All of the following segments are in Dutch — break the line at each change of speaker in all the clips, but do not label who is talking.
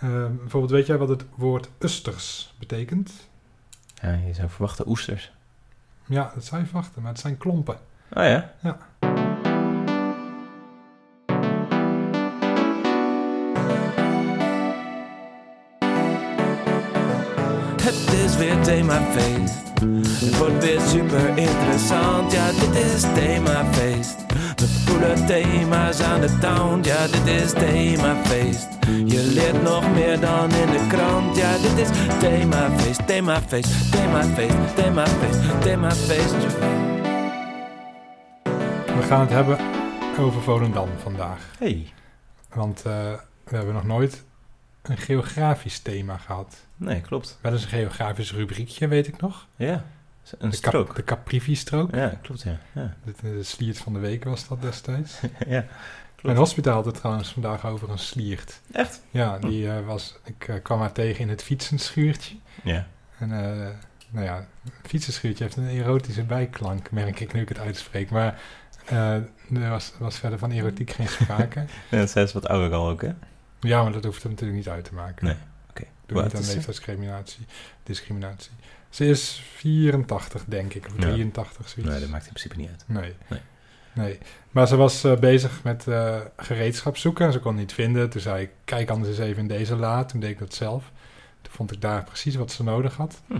Ehm, bijvoorbeeld, weet jij wat het woord usters betekent?
Ja, je zou verwachten oesters.
Ja, dat zou je verwachten, maar het zijn klompen.
Oh ja?
Ja.
Het is weer themafeest. Het wordt weer super interessant. Ja, dit is themafeest. We voelen thema's aan de town. Ja, dit is themafeest. Je leert nog meer dan in de krant. Ja, dit is themafeest, themafeest, themafeest, themafeest, themafeest.
We gaan het hebben over Volendam vandaag.
Hey.
Want eh, we hebben nog nooit een geografisch thema gehad.
Nee, klopt.
Wel eens een geografisch rubriekje, weet ik nog.
Ja. Een
de Cap-
strook.
de Caprivi-strook.
Ja, klopt ja. Ja.
De, de sliert van de week was dat destijds.
ja.
Mijn hospitaal had het trouwens vandaag over een sliert.
Echt?
Ja, die eh, was, ik eh, kwam haar tegen in het fietsenschuurtje.
Ja.
En eh, nou ja, een fietsenschuurtje heeft een erotische bijklank, merk ik nu ik het uitspreek. Maar eh, er was, was verder van erotiek geen sprake.
Ja, Dat zijn ze wat ouder al ook, hè?
ja, maar dat hoeft hem natuurlijk niet uit te maken.
Nee. Oké.
Doe niet
Hoe oud
aan
is ze?
leeftijdsdiscriminatie. Discriminatie. Ze is 84, denk ik, of
Ja.
83, zoiets.
Nee, dat maakt in principe niet uit.
Nee.
Nee.
Nee. Maar ze was eh, bezig met eh, gereedschap zoeken en ze kon het niet vinden. Toen zei ik, kijk anders eens even in deze la. Toen deed ik dat zelf. Toen vond ik daar precies wat ze nodig had.
Hm.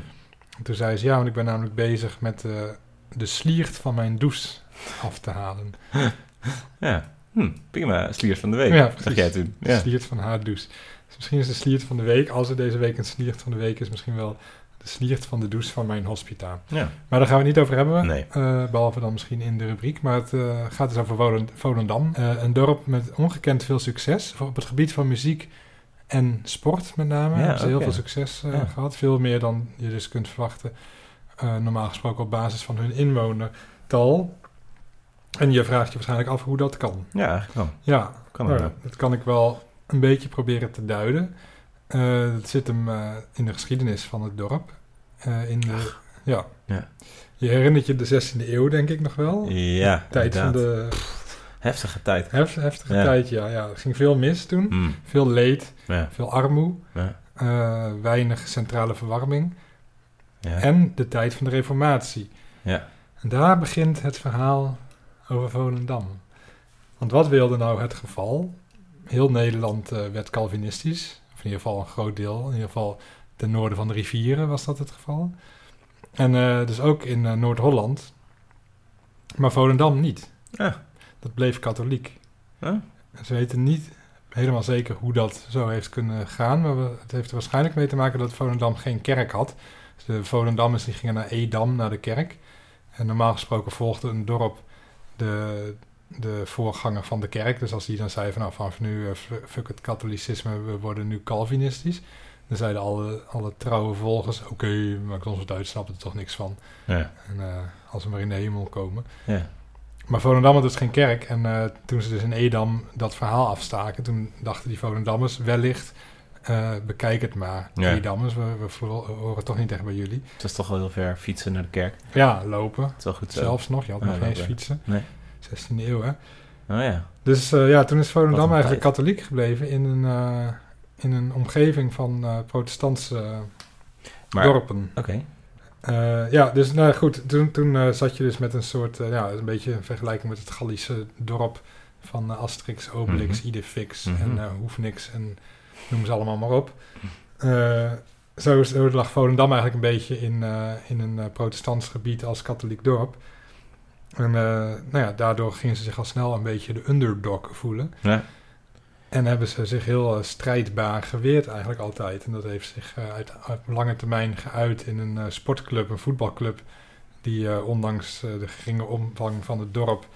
En toen zei ze, ja, want ik ben namelijk bezig met eh, de sliert van mijn douche af te halen.
Ja. Hm, prima. Sliers van de week.
Ja,
Zeg
precies.
jij toen.
De
Ja.
sliert van haar douche. Dus misschien is de sliert van de week, als er deze week een sliert van de week is, misschien wel de sliert van de douche van mijn hospita.
ja.
Maar daar gaan we het niet over hebben.
Nee.
Eh, behalve dan misschien in de rubriek. Maar het eh, gaat dus over Volen- Volendam. Eh, een dorp met ongekend veel succes. Voor- Op het gebied van muziek en sport met name.
Ja,
hebben ze heel
oké.
veel succes eh,
Ja.
gehad. Veel meer dan je dus kunt verwachten. eh, normaal gesproken op basis van hun inwonertal. En je vraagt je waarschijnlijk af hoe dat kan.
Ja, eigenlijk wel.
Ja,
Kan
nou,
ook wel.
dat kan ik wel een beetje proberen te duiden. Eh het zit hem eh, in de geschiedenis van het dorp. Eh, in de, ja.
Ja.
Je herinnert je de 16e eeuw, denk ik nog wel.
Ja,
Tijd van
inderdaad.
de
Heftige tijd.
hef- heftige
Ja.
tijd, ja, ja. Er ging veel mis toen.
Hm.
Veel leed,
Ja.
veel armoe,
Ja.
eh, weinig centrale verwarming.
Ja.
En de tijd van de reformatie.
Ja.
En daar begint het verhaal over Volendam. Want wat wilde nou het geval? Heel Nederland eh, werd Calvinistisch, of in ieder geval een groot deel. In ieder geval ten noorden van de rivieren was dat het geval. En eh, dus ook in eh, Noord-Holland. Maar Volendam niet.
Ja.
Dat bleef katholiek.
Ja.
En Ze weten niet helemaal zeker hoe dat zo heeft kunnen gaan. Maar we- het heeft er waarschijnlijk mee te maken dat Volendam geen kerk had. Dus de Volendammers die gingen naar Edam, naar de kerk. En normaal gesproken volgde een dorp de, de voorganger van de kerk. Dus als die dan zei van nou, vanaf nu eh, f- fuck het katholicisme, we worden nu Calvinistisch. Dan zeiden alle, alle trouwe volgers, oké, maakt ons wat uit, snappen er toch niks van.
Ja.
En eh, als we maar in de hemel komen.
Ja.
Maar Volendam had dus geen kerk. En eh, toen ze dus in Edam dat verhaal afstaken, toen dachten die Volendammers wellicht, eh, bekijk het maar.
Ja.
Edammers, we, we vo- horen toch niet echt bij jullie.
Het was toch wel heel ver fietsen naar de kerk. Het
Ja, lopen.
is wel goed zo.
Zelfs nog, je had
Ja,
nog geen eens
lopen.
fietsen.
Nee.
16e eeuw, hè?
Oh ja.
Dus eh, ja, toen is
Wat
Volendam
een
eigenlijk
tijd.
katholiek gebleven in een, eh, in een omgeving van eh, protestantse eh,
Maar,
dorpen.
Oké.
Eh, ja, dus nou goed, toen, toen eh, zat je dus met een soort, eh, ja, een beetje een vergelijking met het Gallische dorp van eh, Asterix, Obelix,
Mhm.
Idefix
Mhm.
en eh Hoefnix en noem ze allemaal maar op. Eh, zo, zo lag Volendam eigenlijk een beetje in, eh, in een eh, protestants gebied als katholiek dorp. En eh, nou ja, daardoor gingen ze zich al snel een beetje de underdog voelen.
Ja.
En hebben ze zich heel eh, strijdbaar geweerd eigenlijk altijd. En dat heeft zich eh, uit, op lange termijn geuit in een eh, sportclub, een voetbalclub, die eh, ondanks eh, de geringe omvang van het dorp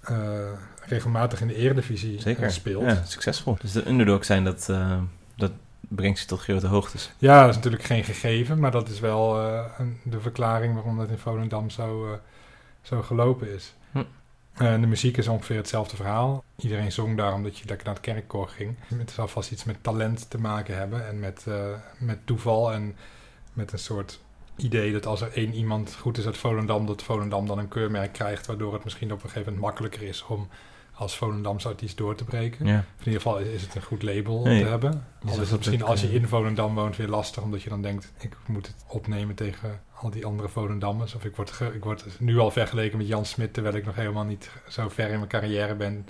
eh, regelmatig in de eredivisie eh,
Zeker.
speelt.
Ja, succesvol. Dus de underdog zijn, dat, eh, dat brengt ze tot grote hoogtes.
Ja, dat is natuurlijk geen gegeven, maar dat is wel eh, een- de verklaring waarom dat in Volendam zo, eh, zo gelopen is.
Hm.
En de muziek is ongeveer hetzelfde verhaal. Iedereen zong daar omdat je lekker naar het kerkkoor ging. Het zal vast iets met talent te maken hebben en met, eh, met toeval en met een soort idee dat als er één iemand goed is uit Volendam, dat Volendam dan een keurmerk krijgt, waardoor het misschien op een gegeven moment makkelijker is om als Volendamse artiest door te breken.
Ja.
Of in ieder geval is, is het een goed label om
Nee.
te hebben. Al
zegt
is het
dat
misschien
ik,
als je
eh,
in Volendam woont weer lastig, omdat je dan denkt, ik moet het opnemen tegen al die andere Volendammers. Of ik word, ge- ik word nu al vergeleken met Jan Smit, terwijl ik nog helemaal niet zo ver in mijn carrière ben.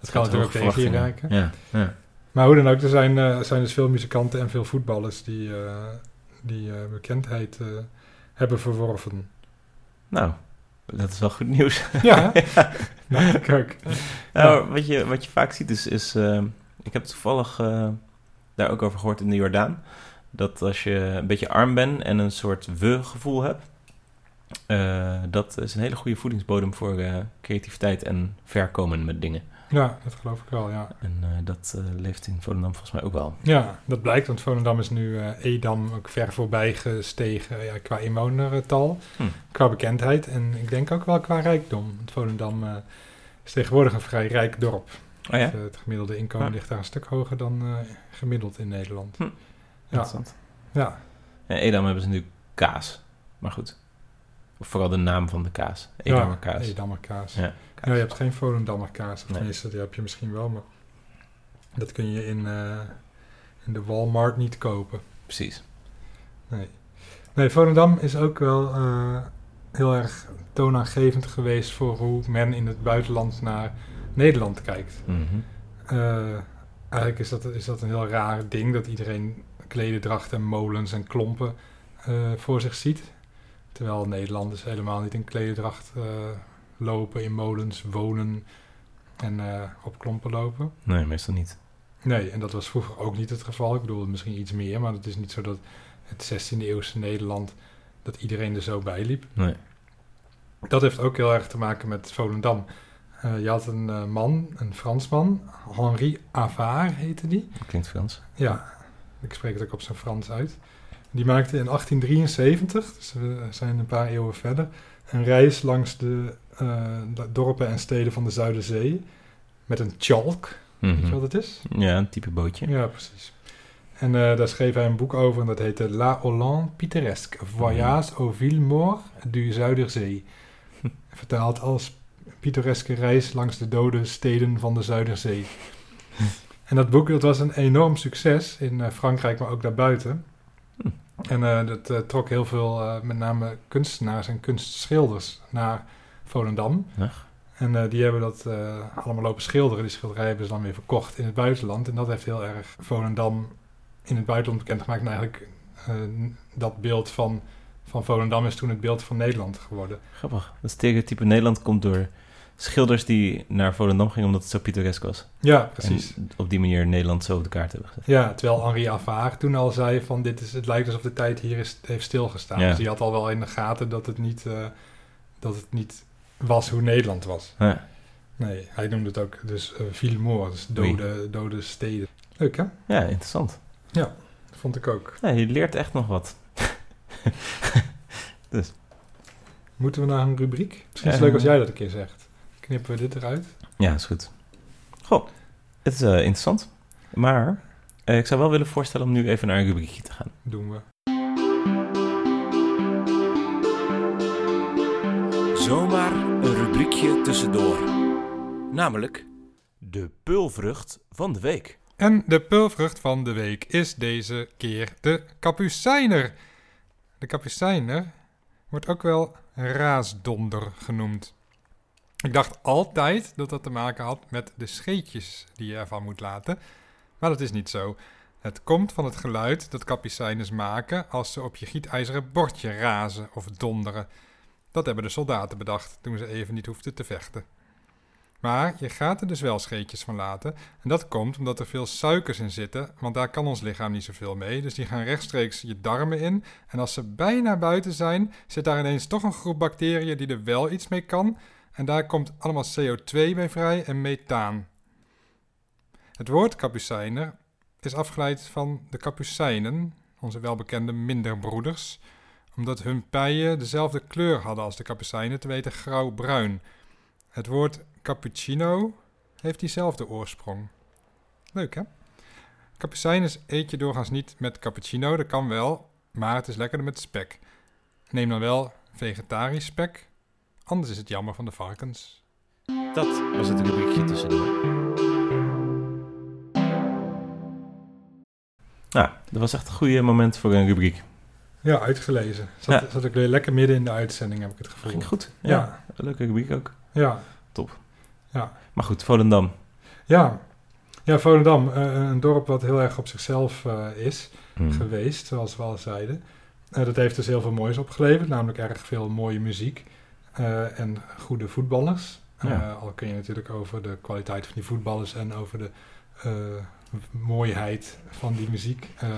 Dat kan natuurlijk ook
Hoge
tegen je
verwachtingen.
raken.
Ja, ja.
Maar hoe dan ook, er zijn, eh, zijn dus veel muzikanten en veel voetballers die, eh, die eh, bekendheid eh, hebben verworven.
Nou, dat is wel goed nieuws.
Ja, hè? nou, ik ook.
Nou, wat, je, wat je vaak ziet is... is eh, ik heb toevallig eh, daar ook over gehoord in de Jordaan. Dat als je een beetje arm bent en een soort we-gevoel hebt... eh, dat is een hele goede voedingsbodem voor eh, creativiteit en verkomen met dingen.
Ja, dat geloof ik wel, ja.
En eh, dat eh, leeft in Volendam volgens mij ook wel.
Ja, dat blijkt, want Volendam is nu eh, Edam ook ver voorbij gestegen ja, qua inwonertal,
Hm.
qua bekendheid en ik denk ook wel qua rijkdom. Want Volendam eh, is tegenwoordig een vrij rijk dorp.
Oh ja?
Het, eh, het gemiddelde inkomen
Ja.
ligt daar een stuk hoger dan eh, gemiddeld in Nederland.
Hm.
Ja,
Interessant.
ja,
Ja, Edam hebben ze natuurlijk kaas. Maar goed. Of vooral de naam van de kaas. Edammer kaas.
Edammer kaas.
Ja, kaas.
Ja, je hebt geen Volendammer kaas, of
Nee.
tenminste, die heb je misschien wel, maar dat kun je in, eh, in de Walmart niet kopen.
Precies.
Nee. Nee, Volendam is ook wel eh, heel erg toonaangevend geweest voor hoe men in het buitenland naar Nederland kijkt.
Mhm.
Eh, eigenlijk is dat, is dat een heel raar ding dat iedereen klededrachten, molens en klompen eh, voor zich ziet. Terwijl Nederlanders helemaal niet in klededracht eh, lopen, in molens wonen en eh, op klompen lopen.
Nee, meestal niet.
Nee, en dat was vroeger ook niet het geval. Ik bedoel, misschien iets meer, maar het is niet zo dat het 16e eeuwse Nederland, dat iedereen er zo bij liep.
Nee.
Dat heeft ook heel erg te maken met Volendam. Eh, je had een eh, man, een Fransman, Henri Avard heette die.
Dat klinkt Frans.
Ja, ik spreek het ook op zijn Frans uit. Die maakte in 1873, dus we zijn een paar eeuwen verder, een reis langs de eh, de dorpen en steden van de Zuiderzee met een tjalk. Weet je
Mhm.
wat het is?
Ja, een type bootje.
Ja, precies. En eh, daar schreef hij een boek over en dat heette La Hollande Pittoresque. Voyage au Villemort du Zuiderzee. Vertaald als pittoreske reis langs de dode steden van de Zuiderzee. en dat boek dat was een enorm succes in eh, Frankrijk, maar ook daarbuiten.
Hm.
En eh, dat eh, trok heel veel, eh, met name kunstenaars en kunstschilders, naar Volendam.
Ach.
En eh, die hebben dat eh, allemaal lopen schilderen. Die schilderijen hebben ze dan weer verkocht in het buitenland. En dat heeft heel erg Volendam in het buitenland bekendgemaakt. En eigenlijk eh, dat beeld van, van Volendam is toen het beeld van Nederland geworden.
Grappig. Dat stereotype Nederland komt door schilders die naar Volendam gingen omdat het zo pittoresk was.
Ja, precies.
En op die manier Nederland zo op de kaart hebben gezet.
Ja, terwijl Henri Avaar toen al zei van dit is, het lijkt alsof de tijd hier is, heeft stilgestaan.
Ja.
Dus die had al wel in de gaten dat het niet, eh, dat het niet was hoe Nederland was.
Ja.
Nee, hij noemde het ook dus eh Villemort, dus dode, dode steden. Leuk hè?
ja, interessant.
Vond ik ook.
Ja, je leert echt nog wat.
Moeten we naar een rubriek? Misschien is het
Eh.
leuk als jij dat een keer zegt. Knippen we dit eruit?
Ja, is goed. Goh, het is eh, interessant. Maar eh, ik zou wel willen voorstellen om nu even naar een rubriekje te gaan.
Doen we.
Zomaar een rubriekje tussendoor. Namelijk de pulvrucht van de week.
En de pulvrucht van de week is deze keer de kapucijner. De kapucijner wordt ook wel raasdonder genoemd. Ik dacht altijd dat dat te maken had met de scheetjes die je ervan moet laten, maar dat is niet zo. Het komt van het geluid dat kapucijners maken als ze op je gietijzeren bordje razen of donderen. Dat hebben de soldaten bedacht toen ze even niet hoefden te vechten. Maar je gaat er dus wel scheetjes van laten, en dat komt omdat er veel suikers in zitten, want daar kan ons lichaam niet zoveel mee. Dus die gaan rechtstreeks je darmen in. En als ze bijna buiten zijn, zit daar ineens toch een groep bacteriën die er wel iets mee kan. En daar komt allemaal CO2 bij vrij en methaan. Het woord kapucijner is afgeleid van de kapucijnen, onze welbekende minderbroeders, omdat hun pijen dezelfde kleur hadden als de kapucijnen, te weten grauw-bruin. Het woord cappuccino heeft diezelfde oorsprong. Leuk hè? Kapucijners eet je doorgaans niet met cappuccino, dat kan wel, maar het is lekkerder met spek. Neem dan wel vegetarisch spek, anders is het jammer van de varkens.
Dat was het rubriekje tussendoor. Nou, dat was echt een goede moment voor een rubriek.
Ja, uitgelezen. Zat,
Ja.
zat ook weer lekker midden in de uitzending, heb ik het gevoel.
Ging goed. Ja,
Ja,
een leuke rubriek ook.
ja,
Maar goed, Volendam.
ja. Ja, Volendam, eh, een dorp wat heel erg op zichzelf eh, is
Hmm. Mhm.
geweest, zoals we al zeiden. Eh, dat heeft dus heel veel moois opgeleverd, namelijk erg veel mooie muziek eh, en goede voetballers. Eh,
Ja.
al kun je natuurlijk over de kwaliteit van die voetballers en over de eh, mooiheid van die muziek eh,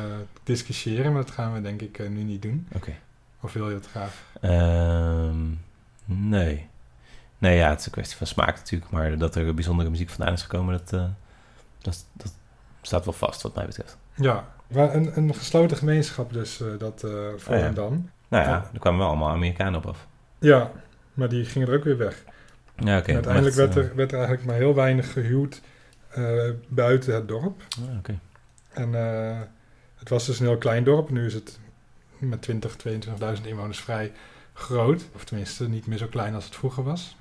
discussiëren, maar dat gaan we denk ik eh, nu niet doen.
Oké.
Of wil je dat graag?
Ehm, nee. Nee, ja, het is een kwestie van smaak natuurlijk. Maar dat er bijzondere muziek vandaan is gekomen, dat, eh, dat, dat staat wel vast wat mij betreft.
Ja, maar een, een gesloten gemeenschap dus, eh, dat eh Volendam.
Nou ja,
Ja.
er kwamen wel allemaal Amerikanen op af.
Ja, maar die gingen er ook weer weg.
Ja, oké. eh,
En uiteindelijk
maar
werd
het,
er, werd er eigenlijk maar heel weinig gehuwd eh, buiten het dorp.
eh, ah, oké.
En eh, het was dus een heel klein dorp. Nu is het met 20, 22.000 inwoners vrij groot. Of tenminste, niet meer zo klein als het vroeger was.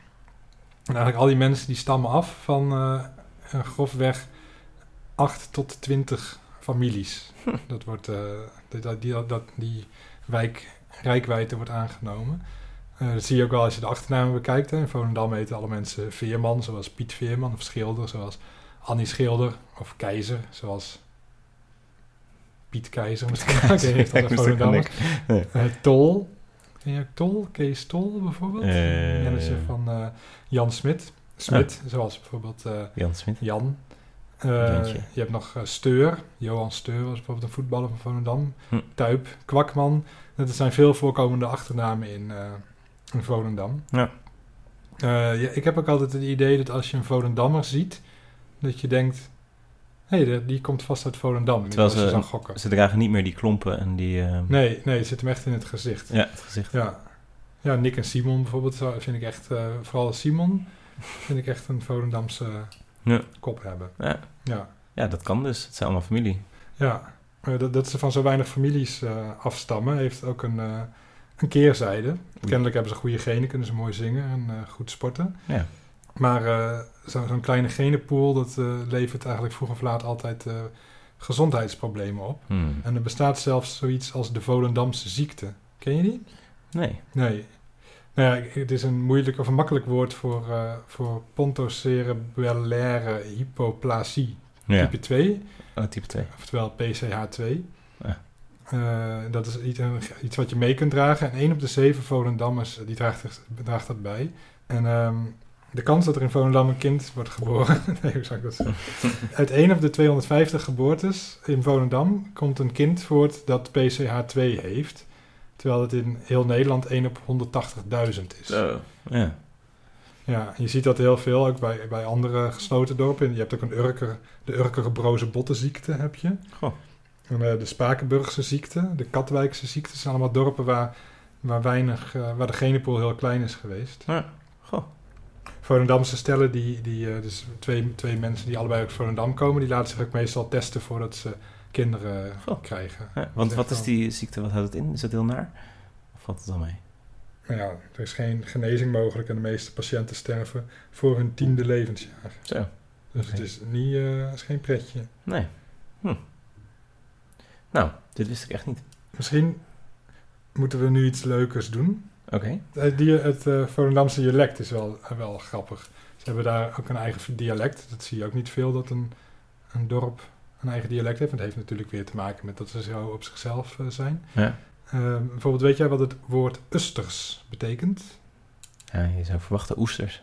En eigenlijk al die mensen die stammen af van eh, een grofweg 8 tot 20 families.
Hm.
Dat wordt, eh, dat, dat- die, dat, die wijk, rijkwijde wordt aangenomen. Eh, dat zie je ook wel als je de achternamen bekijkt. Hè. In Volendam heten alle mensen Veerman, zoals Piet Veerman. Of Schilder, zoals Annie Schilder. Of Keizer, zoals Piet Keizer. Misschien Ik weet niet of dat
Ik
een
moest ook aan
Volendammer is.
denken.
Eh, Tol. Ken je ook Tol? Kees Tol bijvoorbeeld?
Eh.
Manager van eh, Jan Smit. Smit, zoals bijvoorbeeld eh,
Jan Smit.
Jan. Eh,
Jantje.
je hebt nog eh, Steur. Johan Steur was bijvoorbeeld een voetballer van Volendam.
Hm.
Tuip, Kwakman. Dat zijn veel voorkomende achternamen in, eh, in Volendam.
Ja.
Eh, ja, ik heb ook altijd het idee dat als je een Volendammer ziet, dat je denkt... Hé, hey, die komt vast uit Volendam.
Terwijl
als je
ze-
zou gokken.
Ze dragen niet meer die klompen en die... eh,
Nee, nee, het zit hem echt in het gezicht.
Ja, het gezicht.
Ja. ja, Nick en Simon bijvoorbeeld zou- vind ik echt, eh, vooral Simon, vind ik echt een Volendamse
Ja.
kop hebben.
Ja.
Ja,
ja, dat kan dus. Het zijn allemaal familie.
ja. Eh, dat, dat ze van zo weinig families eh, afstammen, heeft ook een, eh, een keerzijde. Kennelijk hebben ze goede genen, kunnen ze mooi zingen en eh, goed sporten.
Ja.
Maar eh, zo- zo'n kleine genenpool, dat eh, levert eigenlijk vroeg of laat altijd eh, gezondheidsproblemen op.
Hmm.
En er bestaat zelfs zoiets als de Volendamse ziekte. Ken je die?
Nee.
Nee. Nou ja, ik- het is een moeilijk of een makkelijk woord voor, eh, voor pontocerebellare hypoplasie
Nou Ja.
type 2,
Oh, type 2.
oftewel PCH2.
Ja.
Eh, dat is iets, iets wat je mee kunt dragen. En 1 op de 7 Volendammers eh, die draagt, er- draagt dat bij. En ehm, de kans dat er in Volendam een kind wordt geboren... nee, hoe zou ik dat zeggen? Uit 1 op de 250 geboortes in Volendam komt een kind voort dat PCH2 heeft. Terwijl het in heel Nederland 1 op 180.000 is.
Zo. Ja.
Ja, je ziet dat heel veel, ook bij, bij andere gesloten dorpen. Je hebt ook een Urker, de Urkere broze bottenziekte heb je.
Goh.
En, eh, de Spakenburgse ziekte, de Katwijkse ziekte. Dat zijn allemaal dorpen waar, waar, weinig, eh, waar de genepool heel klein is geweest.
Ja, goh.
Volendamse stellen, die, die, eh, dus twee, twee mensen die allebei uit Volendam komen... die laten zich ook meestal testen voordat ze kinderen
Goh.
krijgen.
Ja, want
is
wat
echt
is
wel-
die ziekte? Wat houdt het in? Is dat heel naar? Of valt het dan mee?
Nou ja, er is geen genezing mogelijk... en de meeste patiënten sterven voor hun tiende levensjaar.
Zo.
Dus het
Oké.
is, niet, eh, het is geen pretje.
Nee. Hm. Nou, dit wist ik echt niet.
Misschien moeten we nu iets leukers doen.
Oké.
Het, die- het eh, Volendamse dialect is wel, eh, wel grappig. Ze hebben daar ook een eigen dialect. Dat zie je ook niet veel dat een, een dorp een eigen dialect heeft. Want dat heeft natuurlijk weer te maken met dat ze zo op zichzelf eh, zijn.
Ja.
Eh, bijvoorbeeld, weet jij wat het woord Usters betekent?
Ja, je zou verwachten oesters.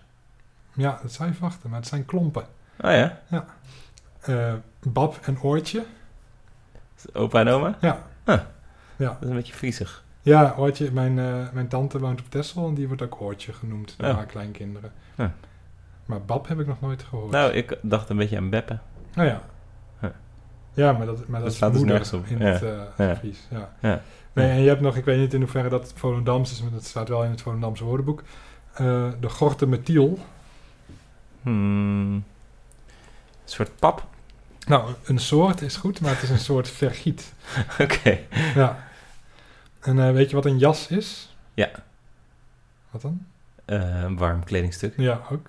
Ja, dat zou je verwachten, maar het zijn klompen.
Oh ja,
Eh, bab en oortje.
opa en oma.
Ja.
Dat is een beetje vriezig.
Ja, oortje. Mijn, eh, mijn tante woont op Texel en die wordt ook oortje genoemd door
Ja.
haar kleinkinderen.
Ja.
Maar bab heb ik nog nooit gehoord.
Nou, ik dacht een beetje aan Beppe.
Nou ja.
Ja.
Ja, maar dat, maar dat,
Dat
is
slaat dus
moeder
nergens op.
in
Ja.
het eh,
Ja.
Fries. Ja.
Ja.
Nee,
Ja.
en je hebt nog, ik weet niet in hoeverre dat Volendams is, maar dat staat wel in het Volendamse woordenboek. eh, de gorte metiel.
Hmm. Een soort pap.
Nou, een soort is goed, maar het is een soort vergiet.
Oké.
Ja. En eh, weet je wat een jas is?
Ja.
Wat dan?
eh, een warm kledingstuk.
Ja, ook.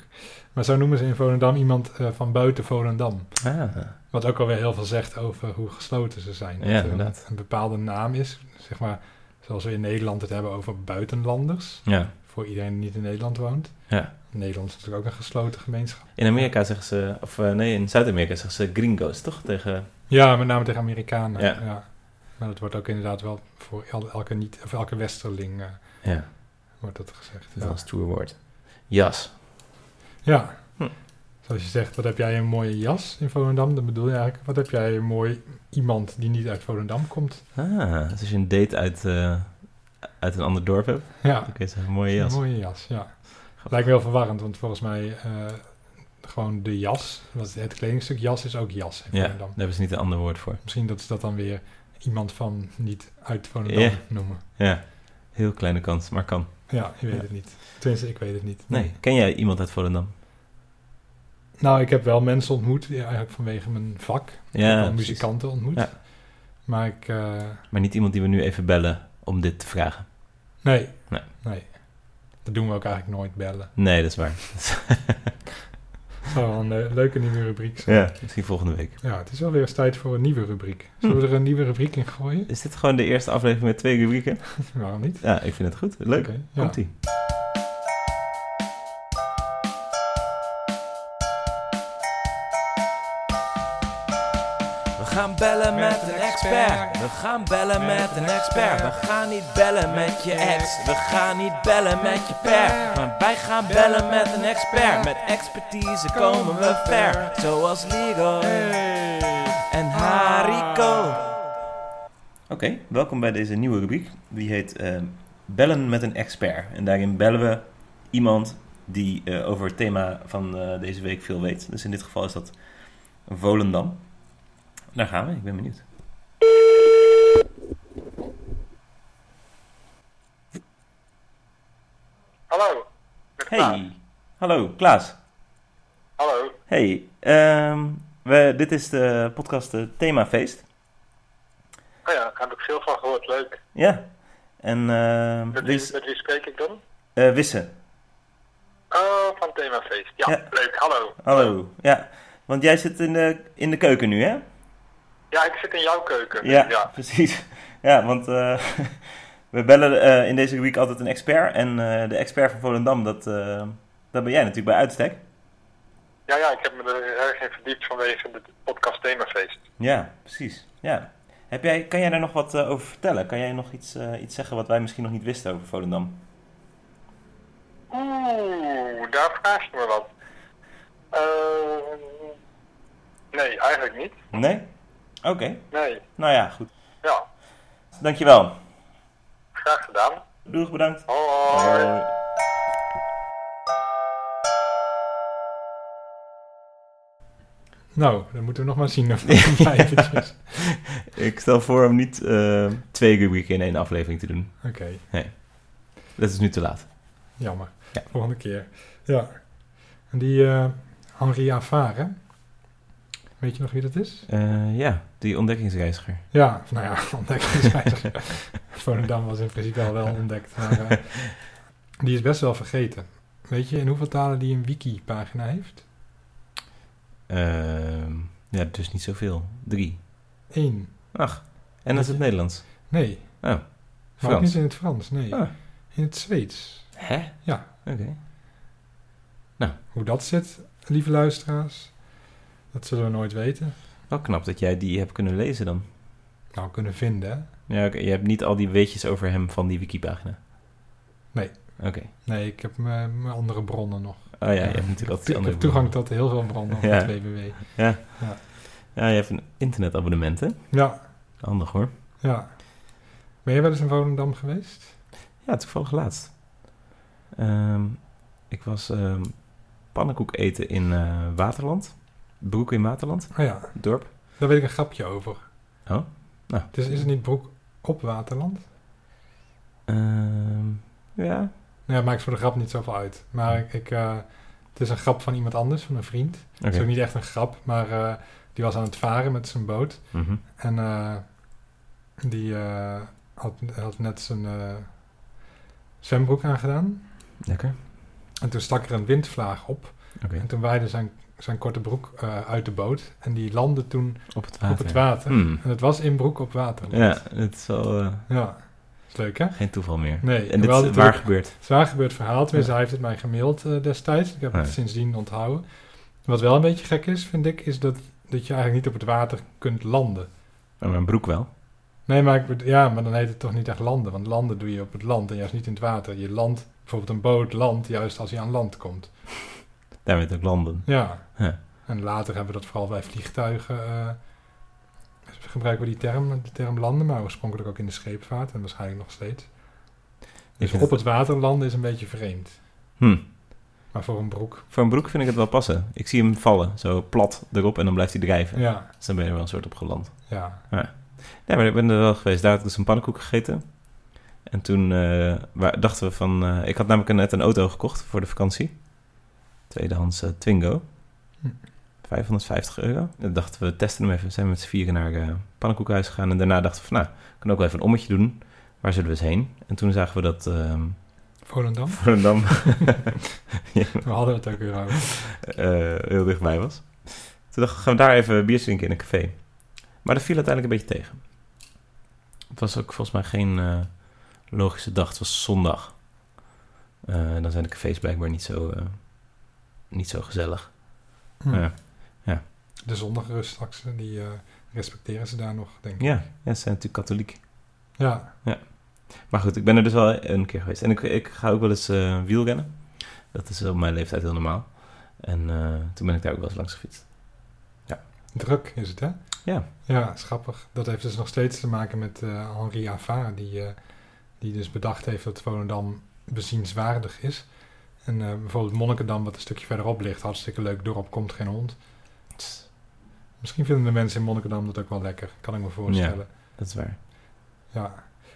Maar zo noemen ze in Volendam iemand eh, van buiten Volendam.
Ah,
Wat ook alweer heel veel zegt over hoe gesloten ze zijn.
Ja,
Dat er een-
inderdaad.
Een bepaalde naam is, zeg maar, zoals we in Nederland het hebben over buitenlanders.
ja.
Voor iedereen die niet in Nederland woont.
Ja.
Nederland is natuurlijk ook een gesloten gemeenschap.
In Amerika zeggen ze, of eh, nee, in Zuid-Amerika zeggen ze gringo's, toch? Tegen,
Ja, met name tegen Amerikanen.
Ja.
Ja. Maar dat wordt ook inderdaad wel voor el- elke, niet, of elke westerling eh,
ja,
wordt dat gezegd. Dus
dat is
Ja.
wel een stoer woord. Jas.
Ja.
Hm.
Zoals je zegt, wat heb jij een mooie jas in Volendam? Dan bedoel je eigenlijk, wat heb jij een mooi iemand die niet uit Volendam komt?
Ah, dus als je een date uit, eh, uit een ander dorp hebt,
Ja,
dan kun je zeggen, mooie
een
jas.
mooie jas, ja. Lijkt me wel verwarrend, want volgens mij eh, gewoon de jas, want het kledingstuk jas is ook jas in
Ja, daar
Volendam.
hebben ze niet een ander woord voor.
Misschien dat ze dat dan weer iemand van niet uit Volendam
Ja.
noemen.
Ja, heel kleine kans, maar kan.
Ja, ik weet
Ja.
het niet. Tenminste, ik weet het niet.
Nee, ken jij iemand uit Volendam?
Nou, ik heb wel mensen ontmoet, ja, eigenlijk vanwege mijn vak. Ik
Ja,
heb wel
precies.
muzikanten ontmoet.
Ja.
Maar ik... eh,
Maar niet iemand die we nu even bellen om dit te vragen.
Nee.
Nee.
Nee. Dat doen we ook eigenlijk nooit bellen.
Nee, dat is waar.
Het zou wel een eh, leuke nieuwe rubriek zijn.
Ja. Misschien volgende week.
Ja, het is alweer eens tijd voor een nieuwe rubriek. Zullen
Hm.
we er een nieuwe rubriek in gooien?
Is dit gewoon de eerste aflevering met twee rubrieken?
Waarom niet?
Ja, ik vind het goed. Leuk.
Oké, ja.
Komt-ie.
We gaan bellen met een expert. We gaan bellen met een expert. We gaan niet bellen met je ex. We gaan niet bellen met je per. Maar wij gaan bellen met een expert. Met expertise komen we ver. Ah. Zoals Ligo en Hariko.
Oké, welkom bij deze nieuwe rubriek. Die heet eh, Bellen met een expert. En daarin bellen we iemand die eh, over het thema van eh, deze week veel weet. Dus in dit geval is dat Volendam. Daar gaan we, ik ben benieuwd.
Hallo. Met Klaas.
Hey, hallo Klaas.
Hallo.
Hey, ehm, we, dit is de podcast eh, Themafeest.
Oh ja, daar heb ik veel van gehoord. Leuk.
Ja. En ehm
Met wie,
dus,
met wie spreek ik dan?
eh, Wisse.
Oh, van Themafeest. Ja,
Ja.
leuk. Hallo.
Hallo. Ja, want jij zit in de, in de keuken nu, hè?
Ja, ik zit in jouw keuken.
Ja, precies. Ja, want eh, we bellen eh, in deze rubriek altijd een expert. En eh, de expert van Volendam, dat, eh, dat ben jij natuurlijk bij uitstek.
Ja, ja, ik heb me er erg in verdiept vanwege de podcast Themafeest.
Ja, precies. Ja. Heb jij, kan jij daar nog wat eh, over vertellen? Kan jij nog iets, eh, iets zeggen wat wij misschien nog niet wisten over Volendam?
Oeh, daar vraag je me wat. Ehm, nee, eigenlijk niet.
Nee? Oké.
Nee.
Nou ja, goed.
Ja,
Dankjewel.
graag gedaan.
Doeg, bedankt.
Hoi.
Eh,
Nou, dan moeten we nog maar zien of dat een vijvertje is.
Ik stel voor om niet eh, twee rubrieken in één aflevering te doen.
Oké,
Dat is nu te laat.
jammer.
Ja.
Volgende keer. Ja. En die eh, Henri Avare, hè? weet je nog wie dat is?
Eh, ja, die ontdekkingsreiziger.
Ja, nou ja, ontdekkingsreiziger. Volendam was in principe al wel ontdekt, maar eh, die is best wel vergeten. Weet je in hoeveel talen die een wiki-pagina heeft?
Ehm, ja, dus niet zoveel. Drie.
Eén.
Ach, en dat is het Nederlands.
Nee, maar ook
Oh, Frans.
niet in het Frans, nee.
Ah.
In het Zweeds.
Hè?
Ja.
Oké.
Hoe dat zit, lieve luisteraars, dat zullen we nooit weten.
Wel knap dat jij die hebt kunnen lezen dan.
Nou, kunnen vinden, hè?
Ja, oké. Je hebt niet al die weetjes over hem van die wikipagina.
Nee.
Oké.
Nee, ik heb mijn mijn andere bronnen nog.
Oh ja, je hebt natuurlijk altijd die
ik
andere
heb toegang tot heel veel bronnen op
Ja.
het WWW.
bronnen. Ja, je hebt een internetabonnement, hè?
Ja,
Handig hoor.
ja. Ben je wel eens in Volendam geweest?
Ja, toevallig laatst. Ehm, ik was ehm, pannenkoek eten in eh, Waterland. Broek in Waterland,
Oh ja,
het dorp.
daar weet ik een grapje over.
Oh, nou.
Dus is het niet broek op Waterland?
Ehm, ja.
Nou ja, maakt voor de grap niet zoveel uit.
Hmm.
Maar ik, ik, eh, het is een grap van iemand anders, van een vriend.
Oké.
Het is ook niet echt een grap, maar eh, die was aan het varen met zijn boot.
Mhm.
En eh, die eh, had, had net zijn eh, zwembroek aangedaan.
Lekker.
En toen stak er een windvlaag op.
Oké.
En toen waaide zijn, zijn korte broek eh, uit de boot. En die landde toen
Op het water.
op het water.
Hmm.
En het was in broek op water.
Ja, het is wel eh,
Ja. Is leuk, hè?
geen toeval meer.
Nee,
en dit
hoewel
is
dit
waar
ook-
gebeurd.
Zwaar gebeurd verhaal. Tenminste,
Ja.
hij heeft het mij gemaild eh, destijds. Ik heb
Ja.
het sindsdien onthouden. Wat wel een beetje gek is, vind ik, is dat, dat je eigenlijk niet op het water kunt landen.
Maar mijn broek wel.
Nee, maar, ik, bedo- ja, maar dan heet het toch niet echt landen. Want landen doe je op het land en juist niet in het water. Je landt, bijvoorbeeld een boot landt juist als hij aan land komt.
Daar werd ook landen.
Ja.
Ja.
En later hebben we dat vooral bij vliegtuigen. eh, gebruiken we die term, de term landen, maar oorspronkelijk ook in de scheepvaart en waarschijnlijk nog steeds. Dus
vind
op het water landen is een beetje vreemd.
Hm.
Maar voor een broek,
Voor een broek vind ik het wel passen. Ik zie hem vallen, zo plat erop en dan blijft hij drijven.
ja.
Dus dan ben je er wel een soort op geland.
ja.
Nee, maar ik ben er wel geweest. Daar had ik dus een pannenkoek gegeten. En toen eh, wa- dachten we van... eh, ik had namelijk net een auto gekocht voor de vakantie. Tweedehands eh, Twingo.
Hm.
550 euro. Dan dachten we, testen hem even. Zijn we met z'n vieren naar eh pannenkoekhuis gegaan. En daarna dachten we van, nou, ik kan ook wel even een ommetje doen. Waar zullen we eens heen? En toen zagen we dat... ehm
Volendam?
Volendam
We hadden het ook weer over.
eh, heel dichtbij was. Toen dachten we, gaan we daar even bier drinken in een café. Maar dat viel uiteindelijk een beetje tegen. Het was ook volgens mij geen eh, logische dag. Het was zondag. Eh, dan zijn de cafés blijkbaar niet zo, eh, niet zo gezellig.
Hm.
Ja.
De zondagrust straks, eh, die eh, respecteren ze daar nog, denk ik.
Ja, ja, ze zijn natuurlijk katholiek.
Ja,
Maar goed, ik ben er dus wel een keer geweest. En ik, ik ga ook wel eens eh, wielrennen. Dat is op mijn leeftijd heel normaal. En eh, toen ben ik daar ook wel eens langs gefietst.
druk is het, hè?
Ja.
Ja, is grappig. Dat heeft dus nog steeds te maken met eh, Henri Avard, die, eh, die dus bedacht heeft dat Volendam bezienswaardig is. En eh, bijvoorbeeld Monnikendam, wat een stukje verderop ligt, hartstikke leuk dorp, komt geen hond.
Dus,
Misschien vinden de mensen in Monnikendam dat ook wel lekker, kan ik me voorstellen.
Dat is waar.
Ja,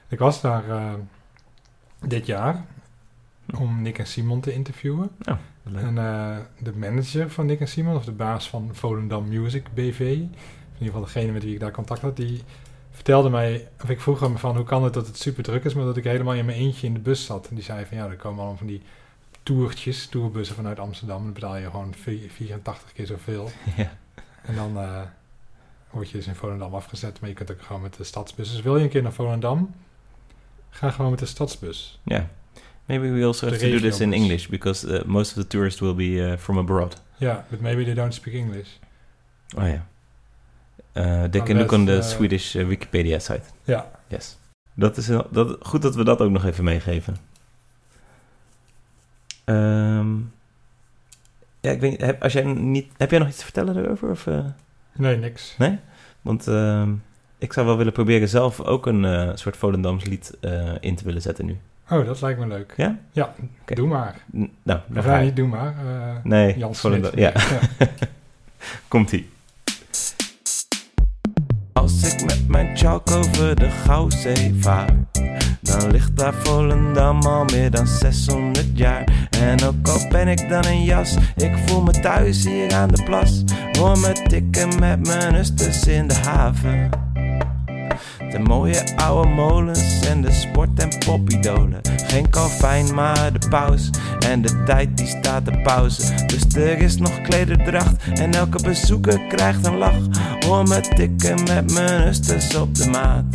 ik was daar eh, dit jaar om Nick en Simon te interviewen. En eh, de manager van Nick en Simon, of de baas van Volendam Music BV, in ieder geval degene met wie ik daar contact had, die vertelde mij, of ik vroeg hem van hoe kan het dat het super druk is, maar dat ik helemaal in mijn eentje in de bus zat. En die zei van ja, er komen allemaal van die toertjes, tourbussen vanuit Amsterdam, en dan betaal je gewoon vi- 84 keer zoveel.
Ja.
En dan eh, word je dus in Volendam afgezet, maar je kunt ook gewoon met de stadsbus. Dus wil je een keer naar Volendam, ga gewoon met de stadsbus.
Yeah. Maybe we also
The
have to do this in
regions.
English because uh, most of the tourists will be uh, from abroad.
Ja, but maybe they don't speak English.
Oh yeah. Uh, they can
Unless,
look on the
uh,
Swedish uh, Wikipedia site.
Ja,
Yes. Dat is heel- dat, goed dat we dat ook nog even meegeven. Ehm, ja, ik weet niet, heb, als jij niet, heb jij nog iets te vertellen daarover? Of, eh?
nee, niks.
want ehm, ik zou wel willen proberen zelf ook een eh, soort Volendams lied eh, in te willen zetten nu.
Oh, dat lijkt me leuk.
Ja?
Ja,
Oké.
doe maar.
N- nou, daar
Of
ga
nee,
je.
niet doe maar. eh,
Nee,
Jan Smit.
Volendam. Ja, komt-ie.
Als ik met mijn chalk over de Gouwzee vaar, dan ligt daar Volendam al meer dan 600 jaar. En ook al ben ik dan een jas, ik voel me thuis hier aan de plas. Hoor me tikken met mijn husters in de haven. De mooie oude molens en de sport- en popidolen. Geen kalfijn, maar de paus. En de tijd die staat te pauze. Dus er is nog klederdracht. En elke bezoeker krijgt een lach. Hoor me tikken met mijn husters op de maat.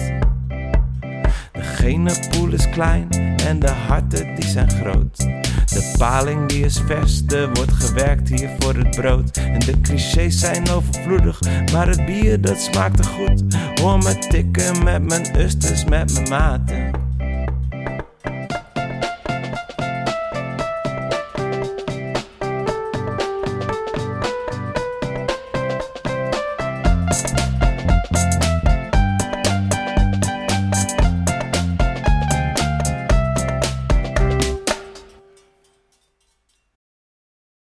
De genenpoel is klein en de harten die zijn groot. De paling die is vers, er wordt gewerkt hier voor het brood. En de clichés zijn overvloedig, maar het bier dat smaakt er goed. Hoor me tikken met mijn usters, met mijn maten.